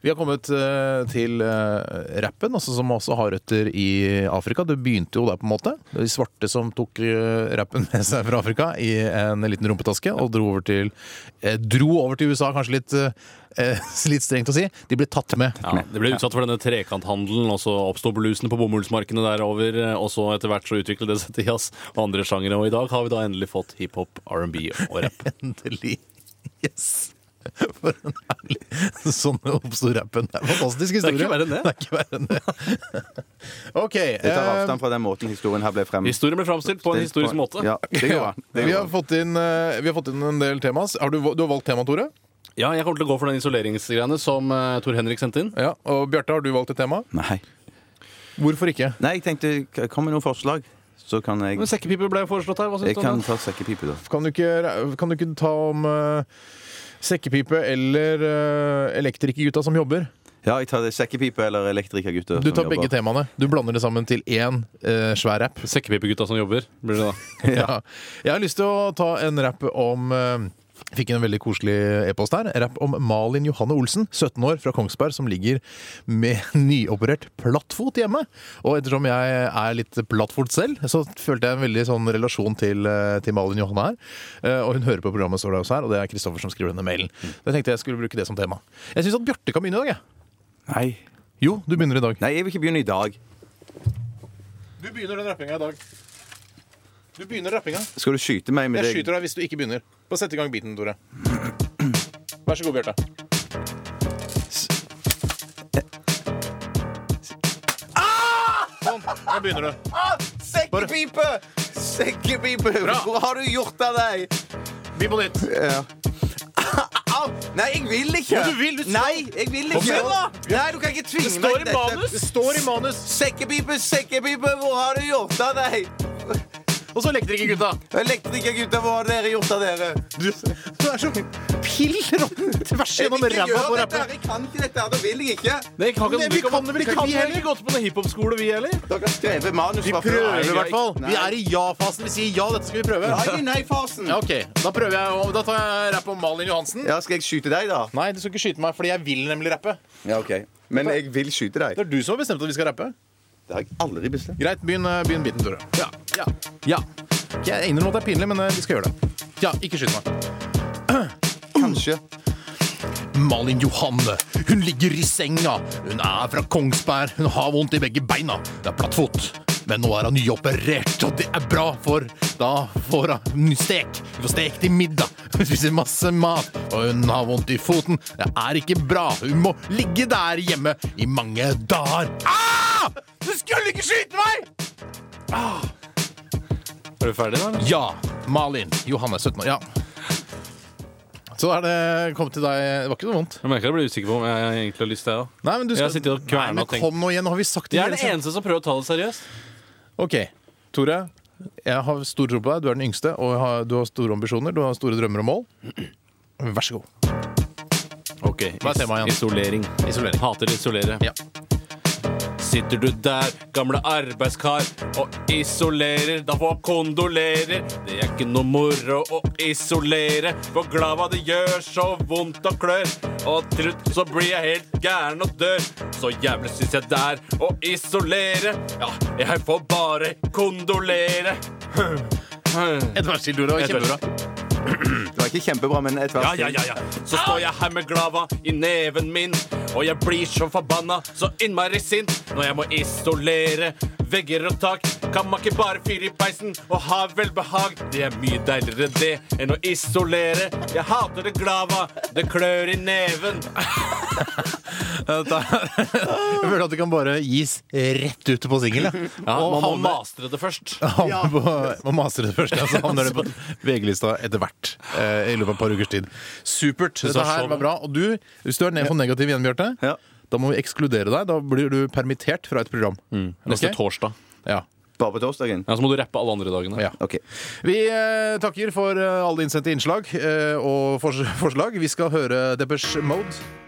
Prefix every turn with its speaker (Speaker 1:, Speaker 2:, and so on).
Speaker 1: Vi har kommet eh, til eh, rappen, altså, som også har røtter i Afrika. Det begynte jo der, på en måte. Det var De svarte som tok eh, rappen med seg fra Afrika i en liten rumpetaske og dro over til, eh, dro over til USA, kanskje litt, eh, litt strengt å si. De ble tatt med.
Speaker 2: Ja, det ble utsatt for denne trekanthandelen, og så oppsto blusen på bomullsmarkene derover. Og så etter hvert så utviklet det seg til jazz og andre sjangere. Og i dag har vi da endelig fått hiphop, R&B og rapp.
Speaker 1: Endelig. Yes! For en herlig Sånn oppsto rappen. Det er en fantastisk
Speaker 2: Det
Speaker 1: historie.
Speaker 2: er ikke verre enn det.
Speaker 1: Det er ikke verre enn det. OK.
Speaker 3: Jeg tar
Speaker 1: eh,
Speaker 3: avstand fra den måten historien her ble frem...
Speaker 2: Historien ble framstilt på en historisk måte.
Speaker 3: Ja, det gjør han. Det
Speaker 1: vi,
Speaker 3: gjør
Speaker 1: har
Speaker 3: han.
Speaker 1: fått inn, eh, vi har fått inn en del temaer. Har du, du har valgt tema, Tore?
Speaker 2: Ja, jeg kommer til å gå for den isoleringsgreiene som eh, Tor Henrik sendte inn.
Speaker 1: Ja, og Bjarte, har du valgt et tema?
Speaker 3: Nei.
Speaker 1: Hvorfor ikke?
Speaker 3: Nei, jeg tenkte, k- kom med noen forslag, så kan jeg
Speaker 2: Men Sekkepipe ble foreslått her. Hva
Speaker 3: Jeg
Speaker 2: syns du
Speaker 3: kan
Speaker 2: om det?
Speaker 3: ta sekkepipe, da.
Speaker 1: Kan du ikke, kan du ikke ta om eh, sekkepipe eller uh, elektrikergutta som jobber?
Speaker 3: Ja, jeg tar det sekkepipe eller elektrikergutter.
Speaker 1: Du
Speaker 3: som
Speaker 1: tar
Speaker 3: jobber.
Speaker 1: begge temaene. Du blander det sammen til én eh, svær rapp.
Speaker 2: Sekkepipegutta som jobber, blir det da.
Speaker 1: Ja. Jeg har lyst til å ta en rapp om eh, Fikk en veldig koselig e-post her. Rapp om Malin Johanne Olsen, 17 år, fra Kongsberg, som ligger med nyoperert plattfot hjemme. Og ettersom jeg er litt plattfot selv, så følte jeg en veldig sånn relasjon til, eh, til Malin Johanne her. Eh, Og hun hører på programmet, står det også her, og det er Kristoffer som skriver denne mailen. Jeg tenkte jeg skulle bruke det som tema. Jeg syns at Bjarte kan begynne i dag, jeg.
Speaker 3: Nei.
Speaker 1: Jo, du begynner i dag.
Speaker 3: Nei, jeg vil ikke begynne i dag.
Speaker 1: Du begynner den rappinga i dag. Du begynner rappinga.
Speaker 3: Skal du skyte meg med
Speaker 1: Jeg
Speaker 3: det?
Speaker 1: skyter deg hvis du ikke begynner. Bare sett i gang biten, Tore. Vær så god, Bjarte. Sånn, nå begynner du.
Speaker 3: Ah, Sekkepipe! Sekkepipe! Hvor har du gjort av deg?
Speaker 1: Begynn på nytt.
Speaker 3: Ja. Au! Nei, jeg vil ikke!
Speaker 1: Jo, du vil, du skal-
Speaker 3: Nei, jeg vil
Speaker 1: Kom
Speaker 3: ikke!
Speaker 1: igjen, da!
Speaker 3: Nei, du kan ikke tvinge meg
Speaker 2: står i
Speaker 3: til dette.
Speaker 2: manus.
Speaker 1: Det står i manus.
Speaker 3: Sekkepipe, sekkepipe, hvor har du gjort av deg?
Speaker 1: Og så elektrikergutta.
Speaker 3: Elektrikergutter, hva har dere gjort av dere?
Speaker 1: Du, du er så pill råtten tvers
Speaker 3: Jeg
Speaker 1: gjennom
Speaker 3: vil ikke
Speaker 1: ræva på
Speaker 3: gjøre dette,
Speaker 1: rappen.
Speaker 3: her, jeg kan ikke dette, her, det vil jeg ikke.
Speaker 2: Nei, kan ikke-
Speaker 1: Men vi
Speaker 2: du
Speaker 1: kan vel ikke
Speaker 2: kan
Speaker 1: vi
Speaker 2: vi
Speaker 1: heller?
Speaker 2: heller gått på noen hiphop-skole, vi heller?
Speaker 3: Dere har skrevet manus
Speaker 1: Vi
Speaker 3: fra før.
Speaker 1: prøver
Speaker 3: Nei,
Speaker 1: i hvert fall.
Speaker 3: nei.
Speaker 1: Vi er i ja-fasen. Vi sier ja, dette skal vi prøve.
Speaker 3: Ja, i nei-fasen.
Speaker 1: Ja, OK. Da prøver jeg å- Da tar jeg rapp om Malin Johansen.
Speaker 3: Ja, skal jeg skyte deg, da?
Speaker 1: Nei, du skal ikke skyte meg, fordi jeg vil nemlig rappe.
Speaker 3: Ja, ok. Men jeg vil skyte deg.
Speaker 1: Det er du som har bestemt at vi skal rappe.
Speaker 3: Det har jeg aldri bestemt.
Speaker 1: Greit, begynn, eh, begynn biten, Tore. Ja. ja. Ok, Jeg innrømmer at det er pinlig, men eh, vi skal gjøre det. Ja, ikke skyt meg.
Speaker 3: Kanskje.
Speaker 1: Malin Johanne, hun ligger i senga. Hun er fra Kongsberg, hun har vondt i begge beina. Det er plattfot. Men nå er hun nyoperert, og det er bra, for da får hun ny stek. Hun får stek til middag. Hun spiser masse mat, og hun har vondt i foten. Det er ikke bra. Hun må ligge der hjemme i mange dager. Ah! Du skulle ikke skyte meg!
Speaker 2: Er du ferdig nå? eller?
Speaker 1: Ja. Malin. Johanne, 17 år. Ja. Så er det Kom til deg. Det var ikke noe vondt.
Speaker 2: Jeg merker jeg blir usikker på om jeg egentlig har lyst til det.
Speaker 1: Nei, men du
Speaker 2: Jeg har sittet og kvernet
Speaker 1: Nei, men
Speaker 2: og tenkt.
Speaker 1: Kom nå igjen, nå har vi sagt det.
Speaker 2: Jeg er den
Speaker 1: hele tiden.
Speaker 2: eneste som prøver å ta det seriøst.
Speaker 1: OK. Tore, jeg har stor tro på deg. Du er den yngste, og jeg har- du har store ambisjoner. Du har store drømmer og mål. Vær så god.
Speaker 2: Ok,
Speaker 1: Hva er temaet igjen?
Speaker 2: Isolering.
Speaker 1: Isolering.
Speaker 2: Hater isolere.
Speaker 1: Ja.
Speaker 2: Sitter du der, gamle arbeidskar, og isolerer, da får kondolerer. Det er ikke noe moro å isolere, for glad hva det gjør, så vondt og klør. Og til slutt så blir jeg helt gæren og dør. Så jævlig syns jeg det er å isolere. Ja, jeg får bare kondolere.
Speaker 1: Et vers til, Tore.
Speaker 2: Et vers.
Speaker 1: Kjempebra.
Speaker 3: Det var ikke kjempebra, men et
Speaker 2: Ja,
Speaker 3: vers.
Speaker 2: ja, ja, ja. Så står jeg her med glava i neven min, og jeg blir så forbanna, så innmari sint, når jeg må isolere vegger og tak. Kan man ikke bare fyre i peisen og ha velbehag? Det er mye deiligere det enn å isolere. Jeg hater det glava, det klør i neven.
Speaker 1: Jeg føler at det kan bare gis rett ut på singel.
Speaker 2: Ja, man må mastre det først.
Speaker 1: Havner på- Man maser det først, og så havner det på VG-lista etter hvert. Eh, I løpet av et par ukers tid. Supert. sånn- Dette
Speaker 2: var
Speaker 1: her
Speaker 2: så
Speaker 1: var bra. Og du, hvis du er ned for negativ igjen, Bjarte,
Speaker 3: Ja.
Speaker 1: da må vi ekskludere deg. Da blir du permittert fra et program. Ok?
Speaker 2: torsdag.
Speaker 1: Ja.
Speaker 3: Bare på torsdagen?
Speaker 2: Ja, Så må du rappe alle andre dagene.
Speaker 1: ja.
Speaker 3: OK.
Speaker 1: Vi eh, takker for eh, alle innsendte innslag eh, og fors forslag. Vi skal høre Depeche Mode.